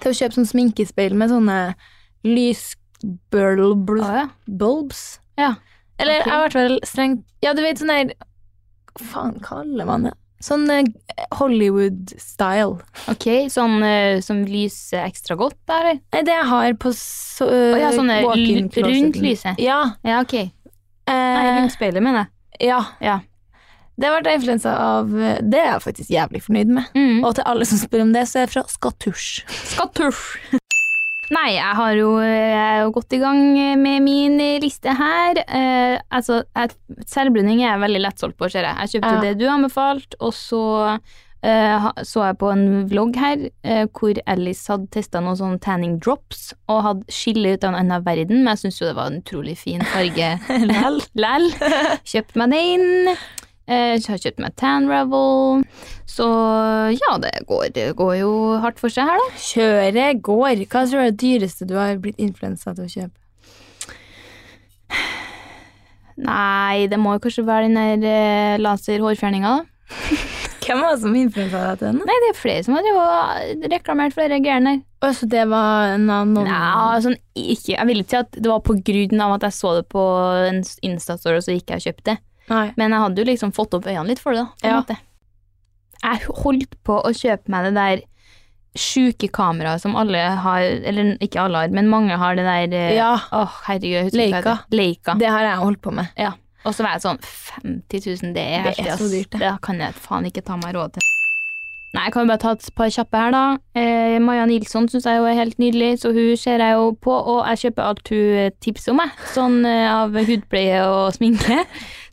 til å kjøpe sånn sminkespeil med sånne lysbulbs.
Å, ja.
bulbs.
Ja.
Eller
Ok.
jeg har vært vel strengt Ja, du vet sånn der Hva faen kaller man det? Sånn eh, Hollywood-style.
Ok, sånn eh, som lyser ekstra godt, da, eller?
Nei, Det jeg har på så,
Å ja, sånn eh,
walk-in
l- rundt
closeten.
lyset.
Ja.
Ja, ok. Nei,
Eh,
rundt speilet, mener jeg.
ja.
Ja.
Det har vært influensa av eh, Det er jeg faktisk jævlig fornøyd med.
Mm.
Og til alle som spør om det, så er jeg fra Skattusj.
Skattusj! Nei, jeg har jo, jeg er jo godt i gang med min liste her. Eh, altså, jeg, selvbruning er jeg veldig lettsolgt på, ser jeg. Jeg kjøpte
Ja.
det du anbefalte, og så eh, ha- så jeg på en vlogg her eh, hvor Alice hadde testa noen sånne tanning drops og hadde skille ut av en annen verden, men jeg syns jo det var en utrolig fin farge.
Lell.
Lell. Kjøpt meg den. Eh, har kjøpt meg Tan Revel. Så ja, det går, det går jo hardt for seg her, da.
Kjøret går. Hva tror du er det dyreste du har blitt influensa til å kjøpe?
Nei, det må jo kanskje være den der eh, laserhårfjerninga, da.
Hvem var det som influensa deg til den?
Nei, det er flere som har drevet og reklamert for de greiene der.
Så det var en annen
Nei, sånn ikke Jeg vil ikke si at det var på grunn av at jeg så det på en s- Insta-story, og så gikk jeg og kjøpte det.
Nei.
Men jeg hadde jo liksom fått opp øynene litt for det, da. På en
Ja.
måte. Jeg holdt på å kjøpe meg det der sjuke kameraet som alle har Eller ikke alle har, men mange har det der eh,
Ja,
Åh, herregud. jeg husker ikke hva det heter. Leica.
det har jeg holdt på med.
Ja. Og så var jeg sånn 50 000, det er,
Det er
heftig, ass.
så dyrt, det.
Det kan jeg faen ikke ta meg råd til. Nei, jeg kan jo bare ta et par kjappe her, da. Eh, Maja Nilsson syns jeg jo er helt nydelig, så hun ser jeg jo på, og jeg kjøper alt hun eh, tipser om, jeg. Sånn eh, av hudpleie og sminke.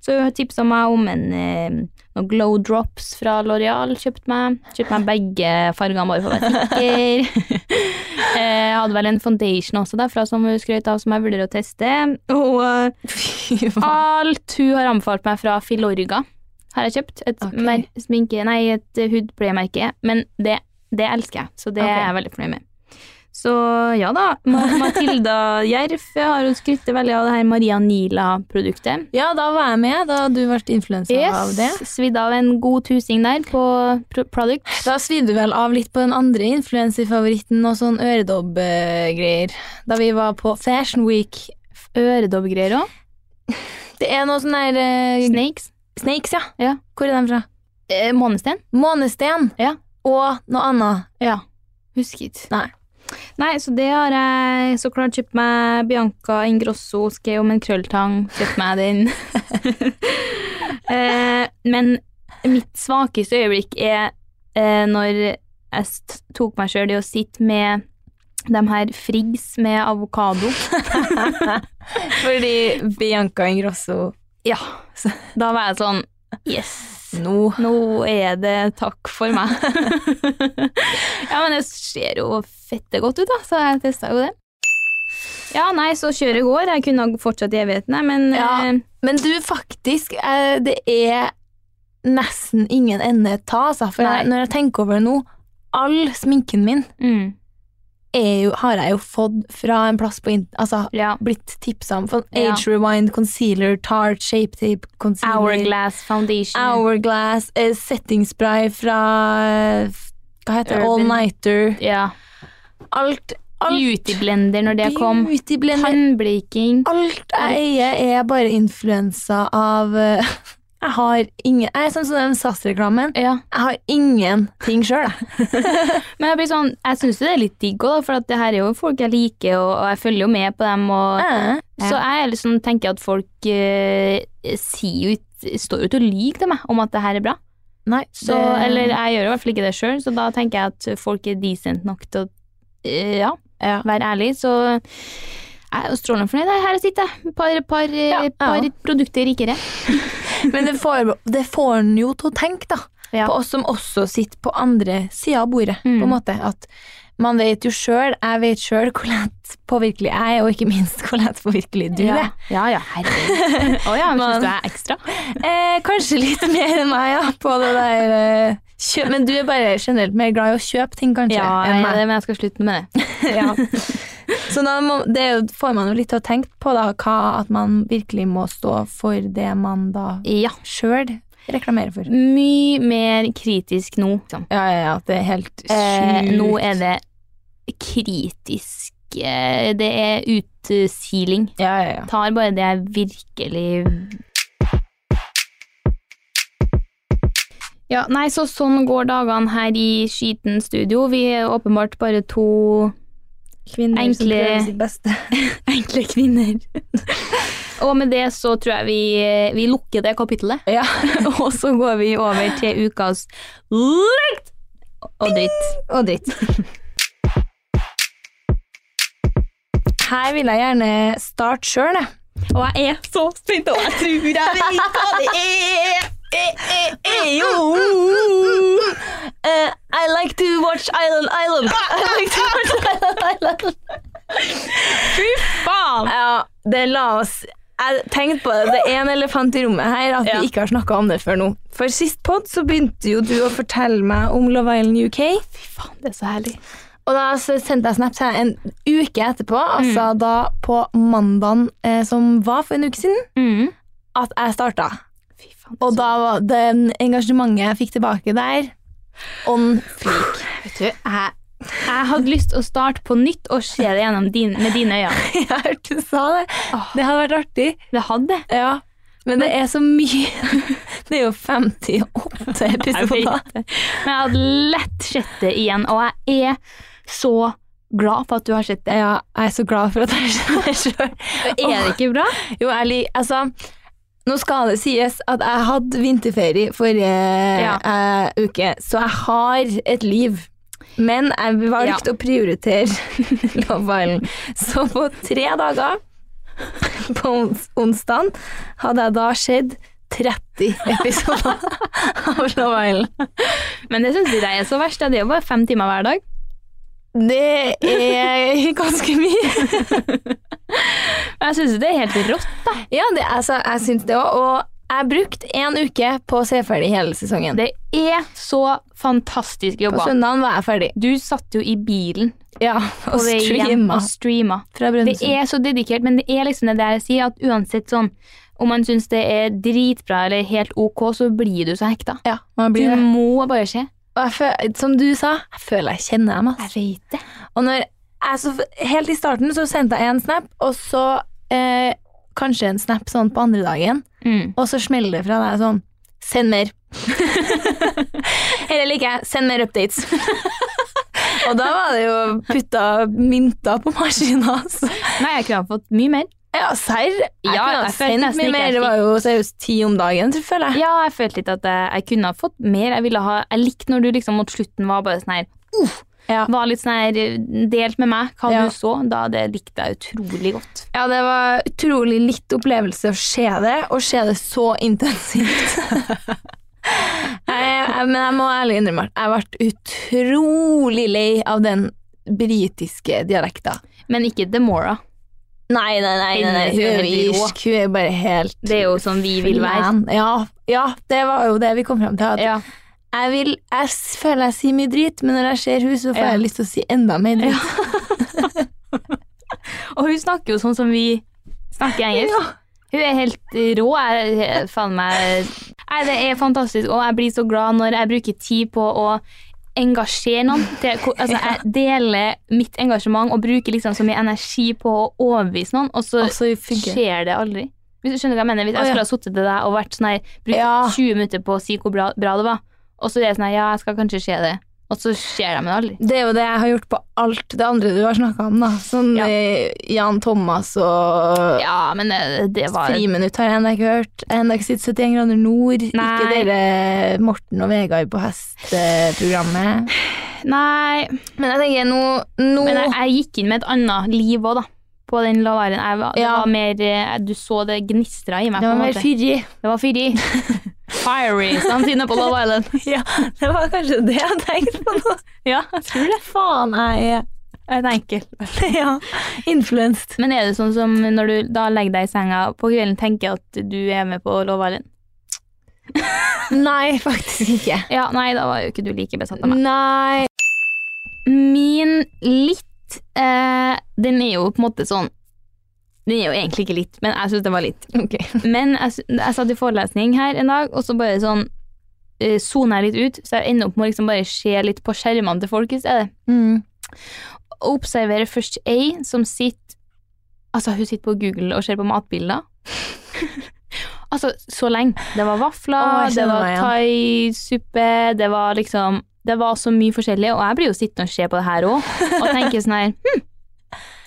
Så hun tipsa meg om en eh, noen glow drops fra Loreal, kjøpte meg. Kjøpte meg begge fargene bare for å være sikker. Eh, Jeg hadde vel en foundation også derfra som hun skrøt av, som jeg vurderer å teste. Og eh,
Fy
Alt hun har anbefalt meg fra Filorga, har jeg kjøpt. Et
Ok.
mer- sminke, nei, et hudpleiemerke. Men det, det elsker jeg, så det
Ok.
er jeg veldig fornøyd med. Så ja da, Ma- Matilda Jerv har jo skrytt veldig av det her Maria Nila-produktet.
Ja, da var jeg med da du ble influensa av det.
Svidd av en god tusing der på pro- product.
Da svidde du vel av litt på den andre influenserfavoritten og sånn øredobb-greier. Da vi var på Fashion Week.
Øredobbgreier òg.
Det er noe sånn der eh,
Snakes.
Snakes, ja.
Ja.
Hvor er de fra?
Eh, Månesten.
Månesten.
Ja.
Og noe annet.
Ja. Husker ikke.
Nei.
Nei, så det har jeg så klart kjøpt meg. Bianca Ingrosso skrev om en krølltang. Kjøpt meg den. eh, men mitt svakeste øyeblikk er eh, når jeg st- tok meg sjøl i å sitte med de her Friggs med avokado.
Fordi Bianca Ingrosso
Ja. Så da var jeg sånn Yes!
nå
Nå er det takk for meg. ja, men det ser jo fette godt ut, da, så jeg testa jo det. Ja, nei, så kjøret går. Jeg kunne ha fortsatt i evigheten, jeg, men
Ja.
eh,
Men du, faktisk, eh, det er nesten ingen ende å ta, altså. For
Nei.
jeg, når jeg tenker over det nå, all sminken min
mm,
er jo, har jeg jo fått fra en plass på int- Altså
Ja.
blitt tipsa om. For
Ja.
Age Rewind, Concealer, Tart, Shape Tape, Concealer
Hourglass Foundation.
Hourglass, eh, Setting Spray fra eh, Hva heter det?
Urban.
All Nighter.
Ja.
Alt. alt
Beautyblender når det kom.
Beauty blender.
Tannbleking.
Alt jeg eier, er bare influensa av eh, Jeg har ingen Jeg er sånn som den SAS-reklamen.
Ja.
Jeg har ingenting sjøl, jeg.
Men jeg blir sånn, jeg syns det er litt digg òg, for at det her er jo folk jeg liker, og, og jeg følger jo med på dem. Og,
Eh.
Så jeg er liksom, tenker at folk eh, sier jo, ikke- står jo ikke og lyver til meg om at det her er bra.
Nei,
Så,
det-
Eller jeg gjør i hvert fall ikke det sjøl, så da tenker jeg at folk er decent nok til å eh, ja,
Ja.
være ærlig. Så jeg er jo strålende fornøyd. jeg. Her sitter jeg, par, par, eh,
Ja, ja.
par produkter rikere.
Men det får, det får en jo til å tenke, da.
Ja.
På oss som også sitter på andre sida av bordet,
Mm.
på en måte. At man vet jo sjøl, jeg vet sjøl hvor lett påvirkelig jeg er, og ikke minst hvor lett påvirkelig du
ja.
er.
ja ja, herregud. Å ja,
Men-
syns du jeg er ekstra?
Eh, kanskje litt mer enn meg, ja, på det der eh, kjøp. Men du er bare generelt mer glad i å kjøpe ting, kanskje,
Ja,
enn
jeg er
meg.
det, men jeg skal slutte med det.
ja. Så da må, det er jo, får man jo litt til å tenke på, da, hva, at man virkelig må stå for det man da
Ja.
sjøl reklamerer for.
mye mer kritisk nå. Liksom.
Ja, ja, ja, det er helt sjukt.
Eh, nå er det kritisk. eh, Det er utsiling.
Ja, ja, ja.
Tar bare det jeg virkelig Ja, nei, så sånn går dagene her i skiten studio. Vi er åpenbart bare to
Kvinner
Enkle-
beste.
enkle kvinner. Og med det så tror jeg vi, vi lukker det kapittelet.
Ja.
Og så går vi over til ukas lukt og dritt.
Og dritt. Her vil jeg gjerne starte sjøl, jeg.
Og jeg er så spent, og jeg tror jeg vet hva det er.
Eh, I like to watch Island Island. I like to watch Island Island.
Faen!
Ja, det la oss Jeg tenkte på det. Det er en elefant i rommet her at
Ja.
vi ikke har snakka om det før nå. For sist pod så begynte jo du å fortelle meg om Love Island UK.
Det er så herlig.
Og da s- sendte jeg snap til deg en uke etterpå,
Mm.
altså da på mandagen eh, som var for en uke siden,
Mm.
at jeg starta.
Fy faen.
Og da var det engasjementet jeg fikk tilbake der, on fleek.
vet du, jeg, jeg hadde lyst til å starte på nytt og se det gjennom din, med dine øyne.
Jeg hørte du sa det. Det hadde vært artig.
Det hadde jeg.
Ja. Men det er så mye. Det er jo 58 episoder.
vet det. Men jeg hadde lett sett det igjen, og jeg er så glad for at du har sett det.
Ja, jeg er så glad for at jeg skjønner det sjøl.
Er det ikke bra?
Jo, ærlig, altså Nå skal det sies at jeg hadde vinterferie forrige
Ja.
eh, uke, så jeg har et liv. Men jeg valgte å prioritere Love Island. Så på tre dager på ons onsdag hadde jeg da sett 30 episoder av Love Island.
Men det syns ikke jeg er så verst. Det er jo bare fem timer hver dag.
Det er ganske mye.
Men jeg syns det er helt rått.
Ja, det, altså, jeg syns det òg. Og jeg brukte én uke på å se ferdig hele sesongen.
Det er så fantastisk
På
jobba.
søndagen var jeg ferdig.
Du satt jo i bilen
Ja,
på
og
vei hjem
streama
og streama.
fra
Det
Brønnøysund.
er så dedikert, men det er liksom det der jeg sier, at uansett sånn om man syns det er dritbra eller helt ok, så blir du så hekta.
Ja, man
Du
blir det.
må bare se.
Og jeg føl, som du sa, jeg føler jeg kjenner dem.
Jeg
ass.
vet det.
Og når jeg så, helt i starten så sendte jeg en snap, og så eh, kanskje en snap sånn på andre dagen,
Mm.
og så smeller det fra deg sånn Send mer. Eller liker jeg. Send mer updates. og da var det jo putta mynter på maskina. Altså.
Nei, jeg kunne ha fått mye mer.
Ja, serr? Jeg
Ja,
kunne ha
jeg følte
sendt
nesten
mye
ikke jeg
mer. Det var jo seriøst ti om dagen, tror jeg, føler jeg.
Ja, jeg følte litt at jeg, jeg kunne ha fått mer. Jeg, ville ha, jeg likte når du liksom mot slutten var bare sånn her
Ja. Uh.
Var litt sånn her eh, delt med meg hva
Ja.
du så. Da det likte jeg utrolig godt.
Ja, det var utrolig litt opplevelse å se det, og se det så intensivt. jeg, jeg, men jeg må ærlig innrømme at jeg ble utrolig lei av den britiske dialekta.
Men ikke Demora.
Nei, nei, nei, nei, nei. hun er jo irsk. Hun er bare helt
Det er jo som vi vil være.
Man. Ja, ja, det var jo det vi kom fram til. At
Ja.
jeg, vil, jeg s- føler jeg sier mye drit, men når jeg ser hun, så får
Ja.
jeg lyst til å si enda mer drit.
Og hun snakker jo sånn som vi snakker engelsk. Hun er helt rå. Jeg, jeg, faen meg Nei, det er fantastisk, og jeg blir så glad når jeg bruker tid på å engasjere noen. Til, hvor- altså, jeg deler mitt engasjement og bruker liksom så mye energi på å overbevise noen, og så
Altså, funker.
skjer det aldri. Hvis du skjønner hva jeg mener, hvis
Å,
jeg
ja.
skulle ha sittet til deg og vært sånn her, brukt
Ja.
20 minutter på å si hvor bra, bra det var, og så er det sånn her, ja, jeg skal kanskje se det, og så skjer det med det aldri.
Det er jo det jeg har gjort på alt det andre du har snakka om, da. Sånn
Ja.
eh, Jan Thomas og
Ja, men eh, det var...
Friminutt har jeg ennå ikke hørt. Jeg har ennå ikke sett 71 grader nord. Ikke
Nei.
dere Morten og Vegard på hest-programmet.
Nei,
Men jeg tenker nå, nå
men jeg, jeg gikk inn med et annet liv også da, på den lavaren. Jeg, var- det
Ja.
var mer, eh, du så det gnistra i meg
Det var
på en
mer
måte.
fyrig.
Det var fyri. Fiery, som sine på Love Island.
Ja, det var kanskje det jeg tenkte på nå.
ja, jeg tror det.
Faen, jeg
Jeg tenker.
er ja, influenced.
Men er det sånn som når du da legger deg i senga på kvelden, tenker at du er med på Love Island?
Nei, faktisk ikke.
Ja, nei, da var jo ikke du like besatt av meg.
Nei.
Min litt eh, Den er jo på en måte sånn Den er jo egentlig ikke litt, men jeg syns den var litt.
Ok.
Men jeg, sy- jeg satt i forelesning her en dag, og så bare sånn eh, soner jeg litt ut, så jeg ender opp med å liksom bare se litt på skjermene til folk i stedet.
Mm.
Og observerer først ei som sitter Altså, hun sitter på Google og ser på matbilder. altså, så lenge. Det var
Å,
vafler,
jeg
det
kjenner
var
meg igjen.
thaisuppe, det var liksom Det var så mye forskjellig, og jeg blir jo sittende og se på det her òg, og tenker sånn her hm,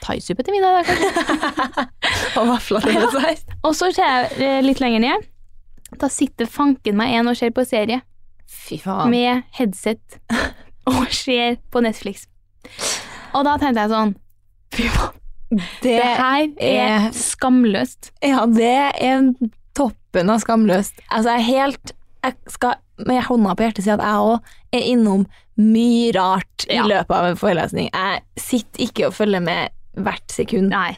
Thaisuppe til middag, da, kanskje?
Og vafler til dessert.
Og så ser jeg eh, litt lenger ned. Da sitter fanken meg en og ser på serie
Fy faen.
med headset og ser på Netflix. Og da tenkte jeg sånn Fy faen,
Det,
det her er
er-
skamløst.
ja, det er toppen av skamløst. Altså, jeg er helt Jeg skal med hånda på hjertet si at jeg òg er innom mye rart i
Ja.
løpet av en forelesning. Jeg sitter ikke og følger med hvert sekund.
Nei.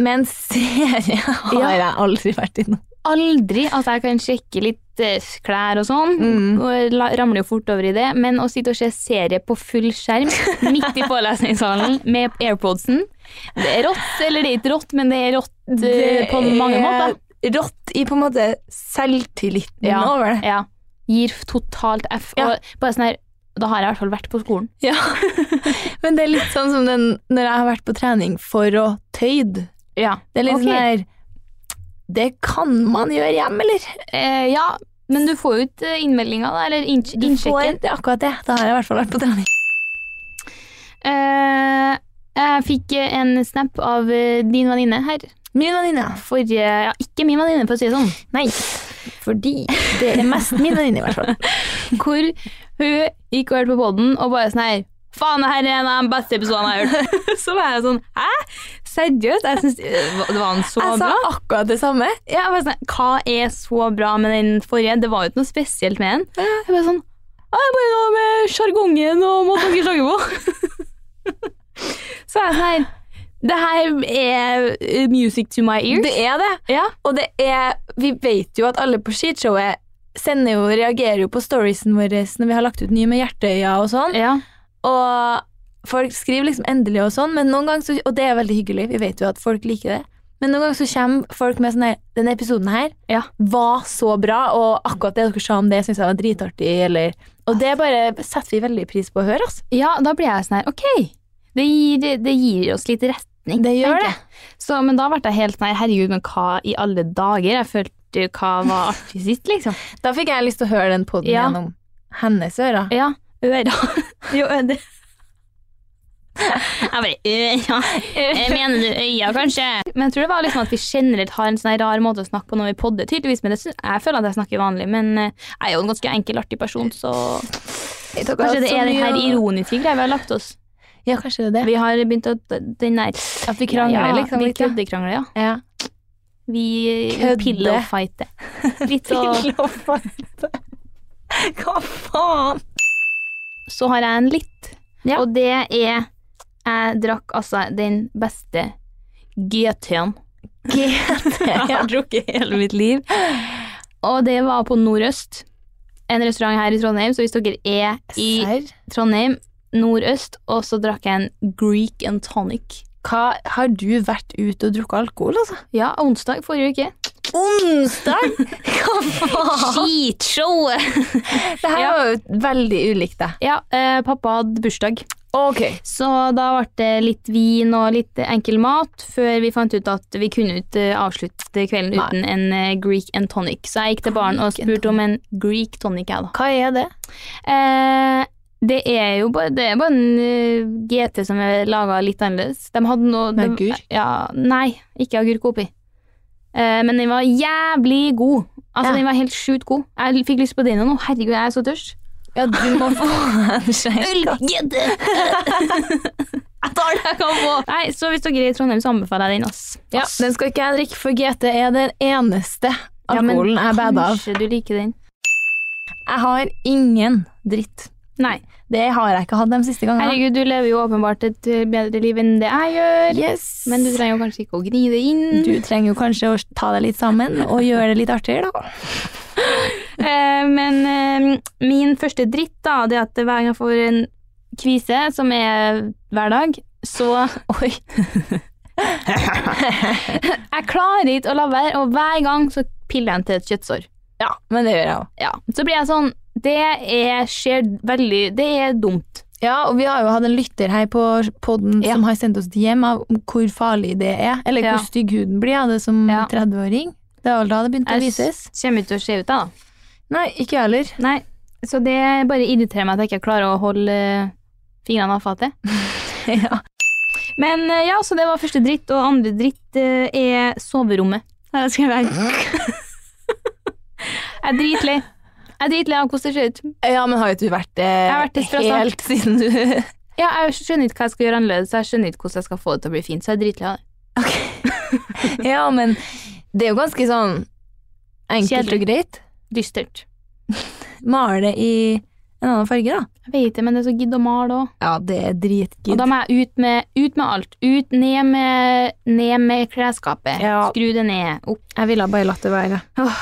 Men serie har
Ja.
jeg aldri vært innom.
Aldri at jeg kan sjekke litt eh, klær og sånn.
Mm.
Og jeg la- ramler jo fort over i det. Men å sitte og se serie på full skjerm midt i forelesningssalen med airpodsen Det er rått, eller det er ikke rått, men det er rått eh, på mange måter.
er Rått i på en måte selvtilliten
Ja.
over det.
Ja. Gir totalt F.
Ja.
Og bare sånn her, da har jeg i hvert fall vært på skolen.
Ja. Men det er litt sånn som den, når jeg har vært på trening for å tøyd.
Ja.
Det er litt
Ok.
sånn her Det kan man gjøre hjemme, eller?
Eh, ja, men du får jo ikke innmeldinga, da, eller innsj-
Du får
innsjekken.
det er akkurat det. Da har jeg i hvert fall vært på trening.
Eh, jeg fikk eh, en snap av eh, din venninne her.
Min venninne.
Forrige eh, Ja, ikke min venninne, for å si det sånn.
Nei. Fordi det er mest min venninne, i hvert fall.
Hvor hun gikk og hørte på poden og bare sånn her Faen, det her er en av de beste episodene jeg har hørt. så var jeg sånn Hæ? Seriøst? Jeg syns det var en så
Jeg sa
bra.
akkurat det samme.
Ja, jeg var sånn, Hva er så bra med den forrige? Det var jo ikke noe spesielt med den. Jeg bare sånn «Ja, Det er bare noe med sjargongen og måten dere snakker på. så er jeg sånn her Det her er eh, music to my ears.
Det er det.
ja.
Og det er Vi vet jo at alle på skishowet sender jo, reagerer jo på storiesen vår når vi har lagt ut nye med hjerteøya og sånn.
ja.
Og folk skriver liksom endelig og sånn, men noen ganger så, og det er veldig hyggelig, vi vet jo at folk liker det. Men noen ganger så kommer folk med sånn her Denne episoden her
Ja.
var så bra, og akkurat det dere sa om det, syns jeg var dritartig, eller Og det bare setter vi veldig pris på å høre, altså.
Ja, da blir jeg sånn her Ok, det gir, det gir oss litt retning.
Det gjør
tenker jeg. Så, men da ble jeg helt sånn her Herregud, men hva i alle dager? Jeg følte hva var artig sist, liksom.
Da fikk jeg lyst til å høre den poden
Ja.
gjennom hennes ører.
Ja, øra. Jo, ø- det. Jeg bare øra. Jeg Mener du øya, kanskje? Men jeg tror det var liksom at vi generelt har en sånn her rar måte å snakke på når vi podder, tydeligvis. Men det, syns- jeg føler at jeg snakker vanlig, men eh, jeg er jo en ganske enkel, artig person, så kanskje det er den her ironiske greia vi har lagt oss.
Ja, kanskje det er det.
Vi har begynt å Den der
At vi krangler,
ja,
liksom.
Vi
litt, ja.
køddekrangler, ja.
Ja.
Vi
Kødde.
pillowfighter. Litt så
Hva faen?
så har jeg en litt.
Ja.
Og det er Jeg drakk altså den beste GT-en jeg har drukket i hele mitt liv. Og det var på Nordøst. En restaurant her i Trondheim, så hvis dere er i
Serr?
Trondheim, Nordøst, og så drakk jeg en Greek and tonic.
hva, har du vært ute og drukket alkohol, altså?
Ja, onsdag forrige uke.
Onsdag?
Skitshowet!
Det her var jo veldig ulikt det.
Ja, eh, pappa hadde bursdag.
Ok.
Så da ble det litt vin og litt enkel mat, før vi fant ut at vi kunne ikke avslutte kvelden
Nei.
uten en eh, Greek and tonic. Så jeg gikk til baren og
Greek and
spurte om en Greek tonic, jeg, da.
Hva er det?
Eh, det er jo bare, det er bare en eh, GT som er laga litt annerledes. De hadde noe
Med
de-
agurk?
Ja, nei, ikke agurk oppi. Eh, men den var jævlig god. Altså,
Ja.
Den var helt sjukt god. Jeg fikk lyst på den nå. Herregud, jeg er så tørst.
Ja, du må få en skjenk.
GT! jeg tar det jeg kan få. Nei, så hvis dere er i Trondheim, så anbefaler jeg den. ass.
Ja,
Ass.
den skal ikke jeg drikke, for GT er den eneste
Ja, men
alkoholen jeg bader av.
Kanskje du liker den.
Jeg har ingen dritt.
Nei.
Det har jeg ikke hatt de siste gangene.
Herregud, du lever jo åpenbart et eh, bedre liv enn det jeg gjør.
Yes.
Men du trenger jo kanskje ikke å gni det inn.
Du trenger jo kanskje å ta deg litt sammen og gjøre det litt artigere, da.
Eh, men eh, min første dritt da, det er at hver gang jeg får en kvise, som er hver dag, så Oi. jeg klarer ikke å la være, og hver gang så piller jeg den til et kjøttsår.
Ja, men det gjør jeg òg.
Ja. Så blir jeg sånn Det er, skjer veldig Det er dumt.
Ja, og vi har jo hatt en lytter her på podden som har sendt oss hjem av hvor farlig det er, eller
Ja.
hvor stygg huden blir av det som
Ja.
30-åring. Det er vel da det begynte å
Jeg
vises.
s- kommer ikke til å se ut, jeg, da.
Nei, ikke jeg heller.
Nei. Så det bare irriterer meg at jeg ikke klarer å holde eh, fingrene av fatet.
ja.
Men eh, ja, så det var første dritt, og andre dritt eh, er soverommet. Her har jeg skrevet Jeg er dritlei. Jeg er dritlei av hvordan det ser ut.
ja, men har jo ikke du vært det
har vært det fra start.
helt siden du
Ja, jeg skjønner ikke hva jeg skal gjøre annerledes, jeg skjønner ikke hvordan jeg skal få det til å bli fint, så jeg er dritlei av det.
Ja, men det er jo ganske sånn enkelt
Kjedelig.
og greit.
Dystert.
Male i en annen farge, da.
Jeg vet det, men det er så gidd å male òg.
Ja, det er
Og
dritgidd.
da må jeg ut med, ut med alt. Ut, ned med, ned med klesskapet.
Ja.
Skru det ned. Opp.
Jeg ville bare latt det være.
Åh,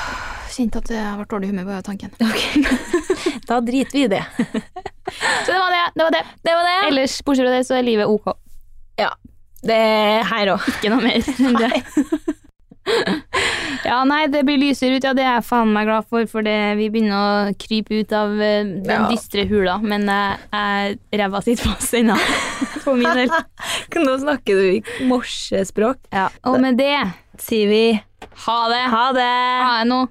kjente at jeg ble dårlig i humør bare av tanken.
Da driter vi i det.
Så det var det. det, var det.
Det var det.
Ellers, bortsett fra det, så er livet ok.
Det er her òg.
Ikke noe mer enn det. ja, nei, det blir lysere ut. Ja, det er jeg faen meg glad for, for det, vi begynner å krype ut av eh, den
Ja.
dystre hula. Men jeg- jeg ræva sitter fast ennå, for min del.
Nå snakker du i morsespråk.
Og med det
Sier vi
ha det! Ha det! Ha det nå.